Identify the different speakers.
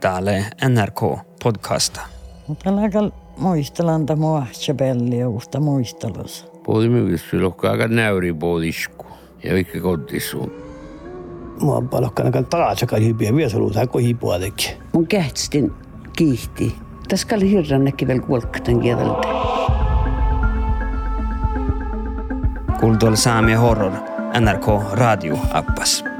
Speaker 1: täällä NRK podcasta.
Speaker 2: Tällä hetkellä muistellaan tämä ahtsepelliä uutta muistelussa.
Speaker 3: Pohdimme vissi lohkaakaan näyri pohdisku ja vikki kotissuun.
Speaker 4: Mua on palokkaan aika taatsakaan hypiä, vielä se luutaan kohi puolekin.
Speaker 5: Mun kähtstin kiihti. Tässä kalli hirran näki vielä kuolkkatan kieltä.
Speaker 1: Kultuol Saami Horror NRK Radio appas.